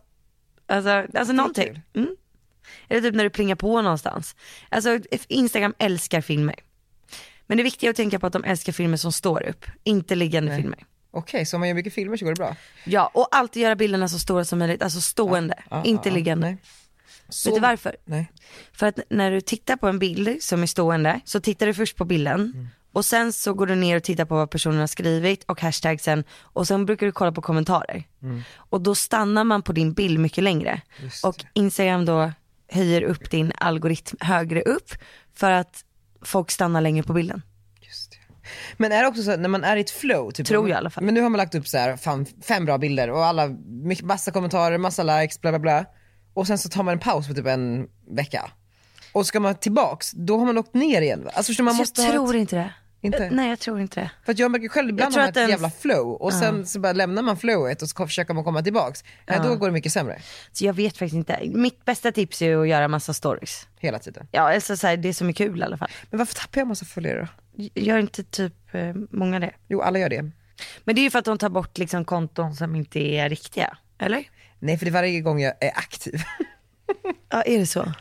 Alltså, alltså någonting. Mm. Eller typ när du plingar på någonstans. Alltså Instagram älskar filmer. Men det viktiga är att tänka på att de älskar filmer som står upp, inte liggande filmer. Okej, så om man gör mycket filmer så går det bra. Ja, och alltid göra bilderna så stora som möjligt, alltså stående, Ja, inte ja, ja. liggande. Nej. Så... Vet du varför? Ah, Nej. För att när du tittar på en bild som är stående så tittar du först på bilden Mm. och sen så går du ner och tittar på vad personen har skrivit och hashtagsen och sen brukar du kolla på kommentarer. Och då stannar man på din bild mycket längre. Mm. Just Och Instagram då höjer upp din algoritm högre upp för att folk stannar längre på bilden. Just det. Men är det också så att när man är i ett flow? Typ, Tror jag i alla fall. Men nu har man lagt upp så här, fan, fem bra bilder och alla, mycket, massa kommentarer, massa likes, bla bla bla. Och sen så tar man en paus på typ en vecka. Och ska man tillbaks, då har man åkt ner igen va? Alltså förstår du, man Så måste jag ha tror ett, inte det. Inte? Nej jag tror inte det. För att jag märker själv, ibland tror har man att ett den- jävla flow och sen så bara lämnar man flowet och så försöker man komma tillbaks. Nej, då går det mycket sämre. Så jag vet faktiskt inte. Mitt bästa tips är ju att göra massa stories. Hela tiden. Ja alltså så här, det som är kul i alla fall. Men varför tappar jag massa följare då? Gör inte typ eh, många det. Jo, alla gör det. Men det är ju för att de tar bort liksom konton som inte är riktiga. Eller? Nej, för det är varje gång jag är aktiv. Ja är det så?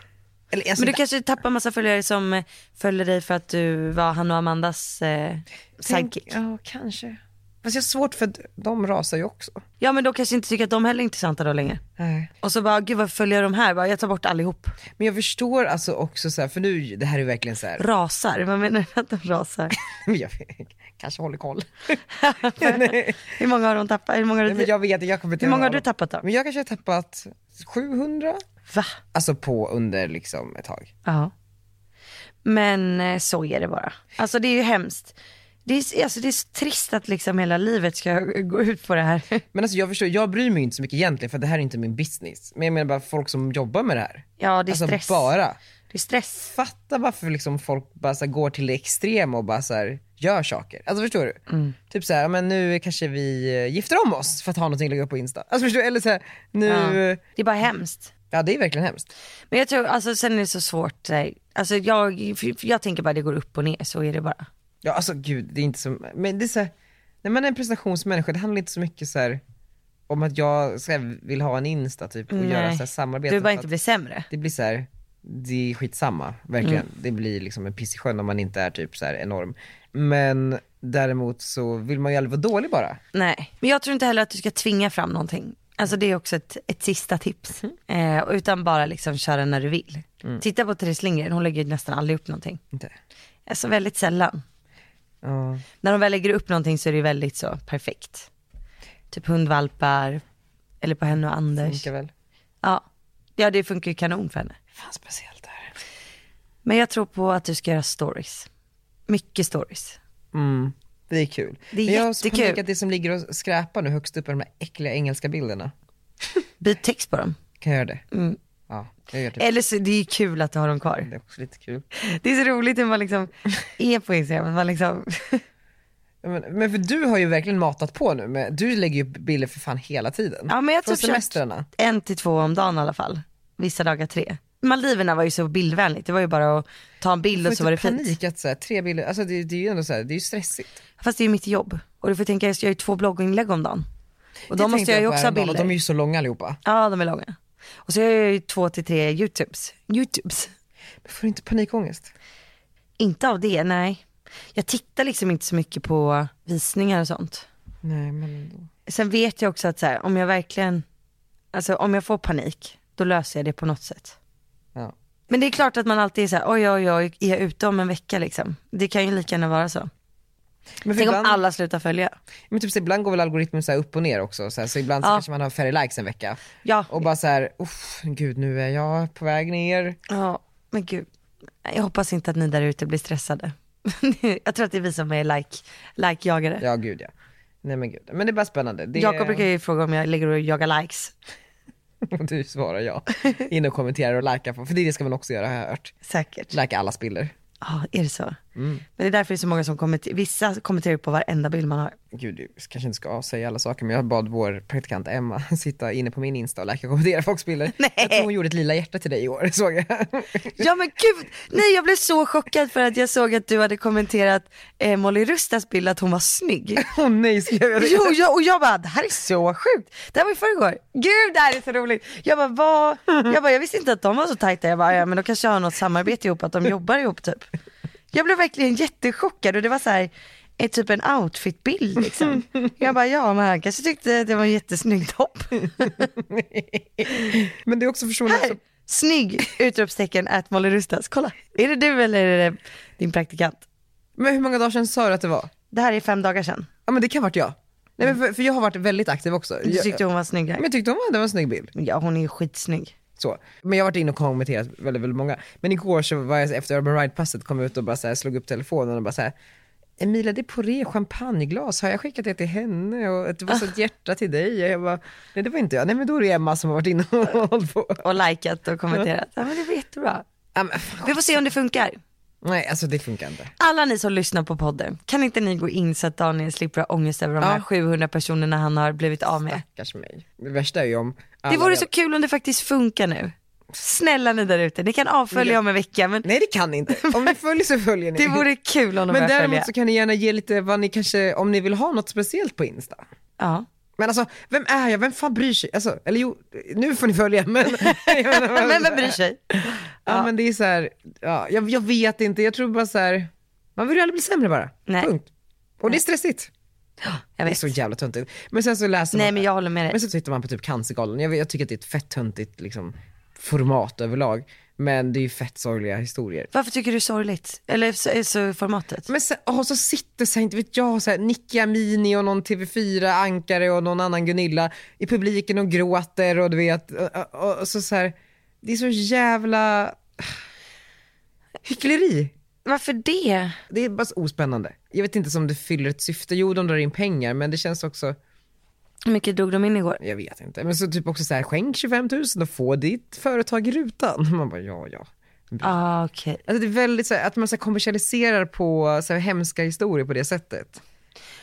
Eller, alltså, Men du kanske tappar massa följare som eh, följer dig för att du var han och Amandas eh, tänk- sidekick. Ja, kanske. Fast jag har svårt för att de rasar ju också. Ja men då kanske inte tycker att de heller är intressanta då längre. Nej. Och så bara, gud vad följer de här? Bara, jag tar bort allihop. Men jag förstår alltså också så här, för nu, det här är verkligen så här, Rasar, vad menar du att de rasar? jag kanske håller koll. Hur många har de tappat? Hur många har Nej, men du, jag vet, jag kommer inte hur många har ihåg. du tappat då? Men jag kanske har tappat 700, Va? alltså på under liksom ett tag. Ja. Men eh, så är det bara. Alltså det är ju hemskt. Det är, alltså, det är så trist att liksom hela livet ska gå ut på det här. Men alltså jag förstår, jag bryr mig inte så mycket egentligen för det här är inte min business. Men jag menar bara folk som jobbar med det här. Ja det är alltså stress. bara. Det är stress. Fatta varför liksom folk bara så här går till det extrema och bara så här gör saker. Alltså förstår du? Mm. Typ så här, ja, men nu kanske vi eh, gifter om oss för att ha någonting att lägga upp på Insta. Alltså förstår du? Eller så här, nu, Ja. ja. Det är bara hemskt. det är verkligen hemskt. Men jag tror, alltså sen är det så svårt. eh, Alltså jag, för jag tänker bara det går upp och ner, så är det bara. Ja alltså gud, det är inte så, men det är så här, när man är en prestationsmänniska det handlar inte så mycket så här om att jag så här, vill ha en Insta typ och Nej. göra så här Du samarbeten. vill bara för inte att- bli sämre. det blir så här, det är skitsamma, verkligen. Mm. Det blir liksom en piss i sjön om man inte är typ så här enorm. Men däremot så vill man ju aldrig vara dålig bara. Nej, men jag tror inte heller att du ska tvinga fram någonting. Alltså det är också ett, ett sista tips. Eh, utan bara liksom köra när du vill. Mm. Titta på Therese Lindgren, hon lägger ju nästan aldrig upp någonting. Inte. Alltså väldigt sällan. Ja. När de väl lägger upp någonting så är det ju väldigt så perfekt. Typ hundvalpar, eller på henne och Anders. Funkar väl. Ja. ja, det funkar ju kanon för henne. Fan speciellt det här. Men jag tror på att du ska göra stories. Mycket stories. Mm. Det är kul. Det är Men jag har jättekul. panik att det som ligger och skräpar nu högst upp är de här äckliga engelska bilderna. Byt text på dem. Kan jag göra det? Mm. Ja, jag gör det. Eller så, det är ju kul att du har dem kvar. Det är också lite kul. Det är så roligt hur man liksom är på Instagram. att Man liksom, Ja, Men, men för du har ju verkligen matat på nu. Men du lägger ju upp bilder för fan hela tiden. ja, men jag har Från typ kört semestrarna. en till två om dagen i alla fall. Vissa dagar tre. Maldiverna var ju så bildvänligt. Det var ju bara att ta en bild och så var det Jag får inte fint. panik att så här, tre bilder, alltså det, det är ju ändå så här, det är ju stressigt. Fast det är ju mitt jobb. Och du får tänka, jag gör ju två blogginlägg om dagen. Och Det de måste tänkte jag ju på också ha häromdagen, och bilder. De är ju så långa allihopa. Ja, de är långa. Och så gör jag ju två till tre YouTubes. YouTubes. Men får du inte panikångest? Inte av det, nej. Jag tittar liksom inte så mycket på visningar och sånt. Nej men ändå. Sen vet jag också att så här, om jag verkligen, alltså om jag får panik, då löser jag det på något sätt. Ja. Men det är klart att man alltid är så här, oj oj oj, är jag ute om en vecka liksom? Det kan ju lika gärna vara så. Men, för Tänk ibland, om alla slutar följa. men typ så ibland går väl algoritmen så här upp och ner också, så, här, så ibland så Ja. kanske man har färre likes en vecka. Ja, Och bara så här, uff, gud nu är jag på väg ner. ja men gud. Jag hoppas inte att ni där ute blir stressade. jag tror att det är vi som är like, like-jagare. Ja gud ja. Nej men gud, men det är bara spännande. Det... Jakob brukar ju fråga om jag ligger och jagar likes. Du svarar ja. In och kommenterar och likea på, för det ska man också göra har jag hört. Säkert. Likea allas bilder. Ja, är det så? Men det är därför det är så många som kommenter- vissa kommenterar ju på varenda bild man har. Gud, jag kanske inte ska säga alla saker men jag bad vår praktikant Emma sitta inne på min Insta och likea och kommentera folks bilder. Nej. Jag tror hon gjorde ett lila hjärta till dig i år, såg jag. Ja men gud, nej jag blev så chockad för att jag såg att du hade kommenterat eh, Molly Rustas bild att hon var snygg. Åh nej, skrev jag det? Jo, jag, och jag bara, det här är så sjukt. Det här var i förrgår. Gud det här är så roligt. Jag bara, vad? Jag, bara, jag visste inte att de var så tajta. Jag bara, ja men de kanske har något samarbete ihop, att de jobbar ihop typ. Jag blev verkligen jättechockad och det var så här, eh, typ en outfitbild liksom. Jag bara, ja men han kanske tyckte att det var en jättesnygg topp. Men det är också personer Här, som... Alltså, snygg! Utropstecken at Molly Rustas. Kolla, är det du eller är det din praktikant? Men hur många dagar sedan sa du att det var? Det här är fem dagar sedan. Ja men det kan varit jag. Nej, men för, för jag har varit väldigt aktiv också. Mm. Du Jag, tyckte hon var snyggare. men jag tyckte om att det var en snygg bild. Ja hon är ju skitsnygg. Så. Men jag har varit inne och kommenterat väldigt, väldigt många. Men igår så var jag efter Urban Ride passet kom ut och bara så här, slog upp telefonen och bara så här, Emilia det är Poré champagneglas, har jag skickat det till henne och att det var så Ah. ett hjärta till dig? Och jag bara, nej det var inte jag, nej men då är det Emma som har varit inne och hållit på. och likat och kommenterat. Ja, men det var jättebra. Ja, men fan. Vi får se om det funkar. Nej alltså det funkar inte. Alla ni som lyssnar på podden, kan inte ni gå in så att Daniel slipper ha ångest över de här 700 personerna han har blivit av med? Stackars mig. Det värsta är ju om alla Det vore redan- så kul om det faktiskt funkar nu. Snälla ni där ute, ni kan avfölja om en vecka men Nej det kan ni inte, om ni följer så följer ni. det vore kul om men de börjar däremot följa. så kan ni gärna ge lite vad ni kanske, om ni vill ha något speciellt på Insta. Ja. Men alltså, vem är jag? Vem fan bryr sig? Alltså, eller jo, nu får ni följa men... Men vem bryr sig? Ja, men det är så här, ja, jag, jag vet inte, jag tror bara så här, man vill ju aldrig bli sämre bara. Nej. Punkt. Och det är stressigt. Jag Det är vet. så jävla töntigt. Men sen så läser Nej man, men jag håller med dig. men så tittar man på typ Cancergalan, jag, vet- jag tycker att det är ett fett töntigt liksom, format överlag. Men det är ju fett sorgliga historier. Varför tycker du sorgligt? Eller så, så formatet? Men sen, åh, så sitter så här, inte vet jag, så här, Nicky Amini och någon TV4-ankare och någon annan Gunilla i publiken och gråter och du vet, och, och, och så, så här, det är så jävla hyckleri. Varför det? Det är bara så ospännande. Jag vet inte om det fyller ett syfte. Jo, de drar in pengar, men det känns också, Hur mycket drog de in igår? jag vet inte. Men så typ också så här, skänk 25 000 och få ditt företag i rutan. Man bara, ja, ja. Ah, okej. Alltså det är väldigt så här, att man så här kommersialiserar på så här hemska historier på det sättet.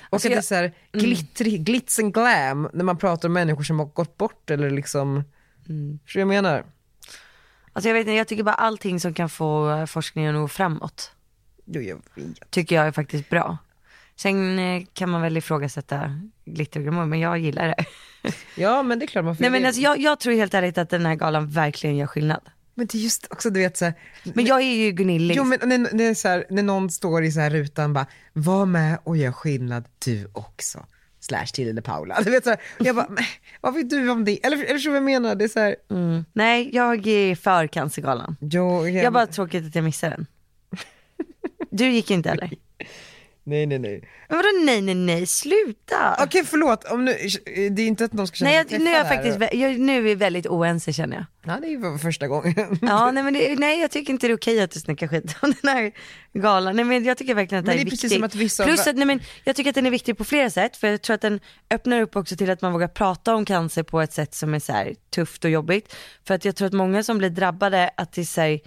Och Alltså att det är jag- så här glittrig, glitz and glam när man pratar om människor som har gått bort eller liksom, Mm. förstår du vad jag menar? Alltså jag vet inte, jag tycker bara allting som kan få eh, forskningen att gå framåt Jo, jag vet. tycker jag är faktiskt bra. Sen eh, kan man väl ifrågasätta glitterglamour men jag gillar det. Ja men det är klart man får Nej men det. alltså jag, jag tror helt ärligt att den här galan verkligen gör skillnad. men det är just också du vet så här, Men jag är ju Gunillig. Jo men när, när, så här, när någon står i så här rutan bara, var med och gör skillnad du också. Slash till eller Paula. Du vet så här, jag bara, "Men, vad vet du om det? Eller, eller förstår du vad jag menar? Det är så här, Mm. Nej, jag är för Cancergalan. jo, Jag bara tråkigt att jag missade den. Du gick inte heller. nej nej nej. Men vadå nej, nej, nej, sluta. Okej förlåt, om nu, eh, det är inte att någon ska känna Nej, sig jag, nu är jag träffad faktiskt, här. vä- jag, nu är vi väldigt oense känner jag. Ja det är ju för första gången. Ja, nej, men det, nej jag tycker inte det är okej att du snackar skit om den här galan. Nej, men jag tycker verkligen att det, Men här är det är precis viktigt. som att vissa- Plus att, nej, men jag tycker att den är viktig på flera sätt. För jag tror att den öppnar upp också till att man vågar prata om cancer på ett sätt som är så här, tufft och jobbigt. För att jag tror att många som blir drabbade, att det är så här,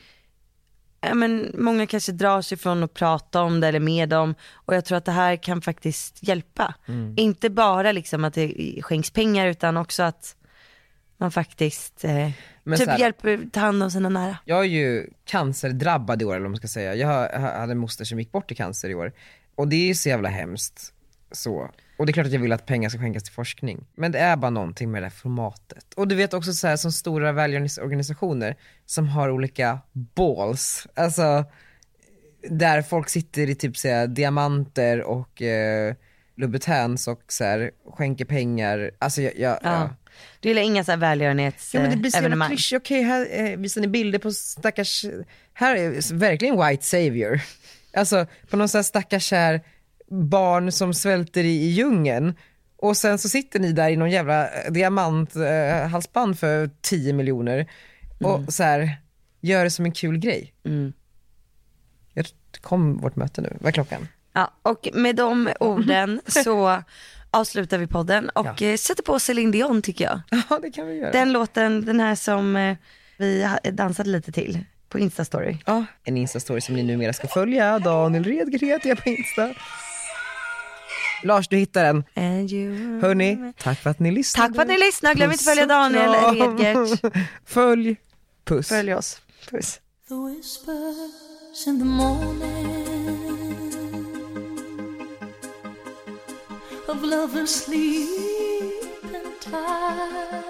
ja, men många kanske drar sig från att prata om det eller med dem och jag tror att det här kan faktiskt hjälpa. Mm. Inte bara liksom att det skänks pengar utan också att man faktiskt eh, Men så typ här- hjälper ta hand om sina nära. Jag är ju cancerdrabbad i år eller vad man ska säga. Jag ha- hade en moster som gick bort i cancer i år. Och det är ju så jävla hemskt. Så. Och det är klart att jag vill att pengar ska skänkas till forskning. Men det är bara någonting med det här formatet. Och du vet också så här som stora välgörenhetsorganisationer som har olika balls. Alltså där folk sitter i typ så här, diamanter och eh, Louboutins och så här, skänker pengar. Alltså jag, jag, Ja. ja. Du gillar inga så här Ja Eh, men det blir så jävla välgörenhetsevenemang. klyschigt. Okej, här eh, visar ni bilder på stackars, här är s- verkligen white savior. Alltså på någon sån här stackars här barn som svälter i, i djungeln. Och sen så sitter ni där i någon jävla diamanthalsband eh, halsband för 10 miljoner och så här gör det som en kul grej. Jag kom vårt möte nu, vad är klockan? ja, och med de orden så avslutar vi podden och eh, sätter på Céline Dion tycker jag. Ja det kan vi göra. Den låten, den här som eh, vi ha- dansade lite till på Instastory. Ja, en instastory som ni numera ska följa. Daniel Redgren heter jag på Insta. Lars, du hittar den. And you... Hörni, tack för att ni lyssnade. Mm. Tack för att ni lyssnade, glöm inte Puss följa och Daniel kram. Redgert. Följ. Puss. Följ oss, puss. The whispers in the morning of lovers sleep and tight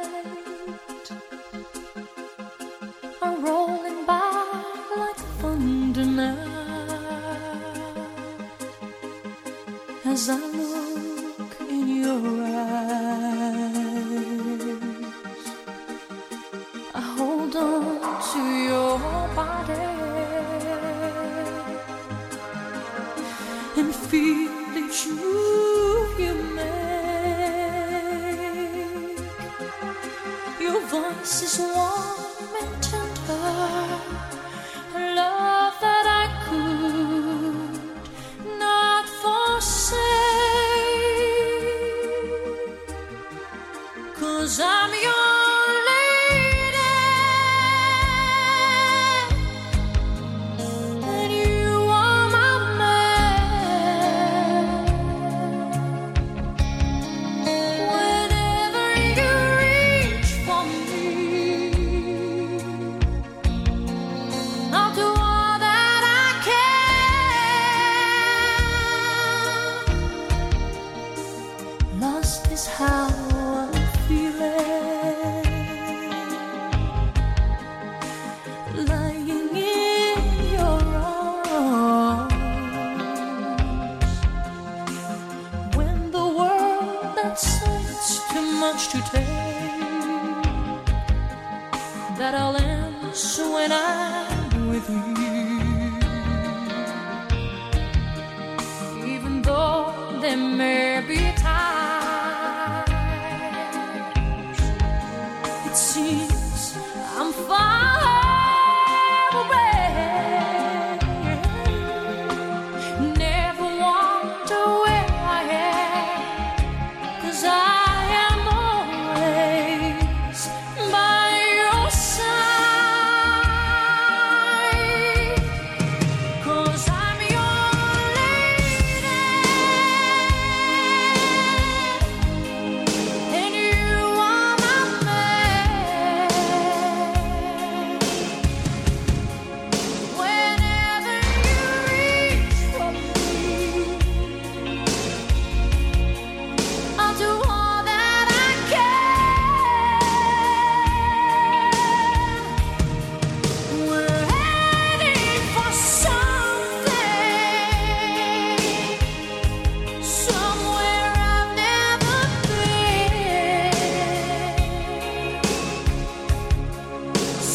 are rolling by like thunder now as I look in your eyes. I hold on to your body and feel each move you make. Your voice is warm and tender, a love that I could not forget. much to take that I'll answer when I'm with you. Even though there may be times it seems I'm far away. Never wonder where I am, 'cause I am always by your side. 'Cause I'm your lady, and you are my man. Whenever you reach for me, I'll do all that I can. We're heading for something, somewhere I've never been.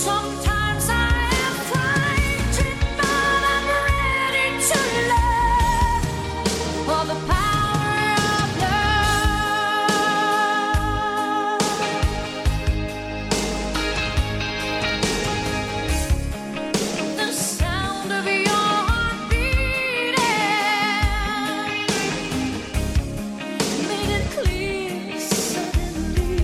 Sometimes I am frightened, but I'm ready to love for the power of love. The sound of your heart beating made it clear suddenly.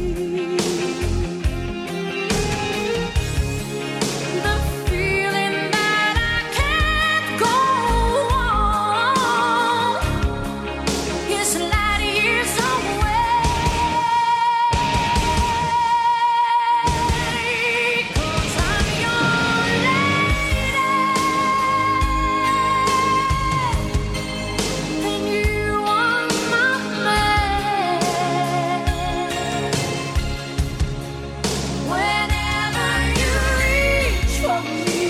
The feeling that I can't go on is light years away. 'Cause I'm your lady. And you are my man. Whenever you reach for me,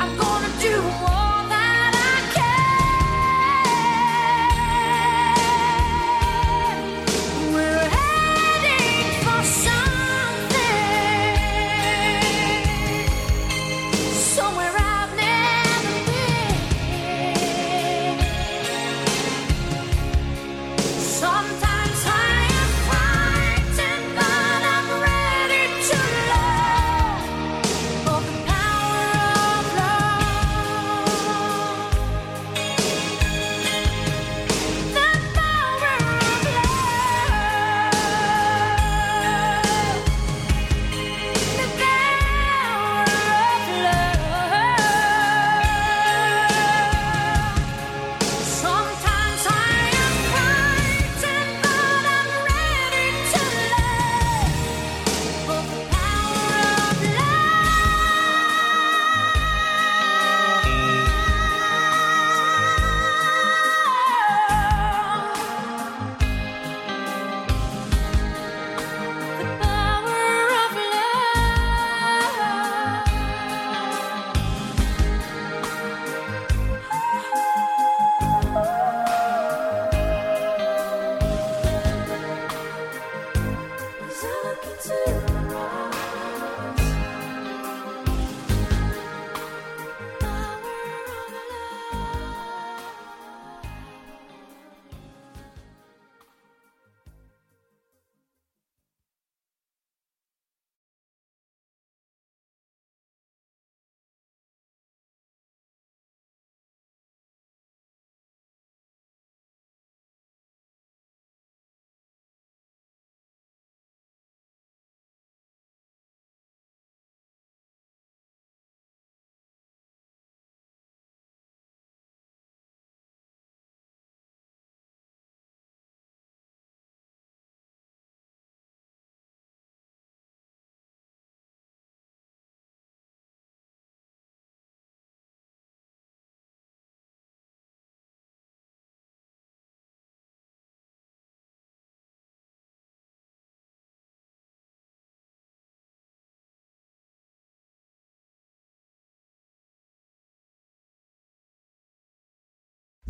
I'm gonna do all that I can. We're heading for something. Somewhere I've never been. Sometimes I am frightened, but I'm ready to love for the power of love. The power of love. The power of love. Sometimes I am frightened, but I'm ready to love. For the power of love. The power of love. As I look into your eyes, power of love.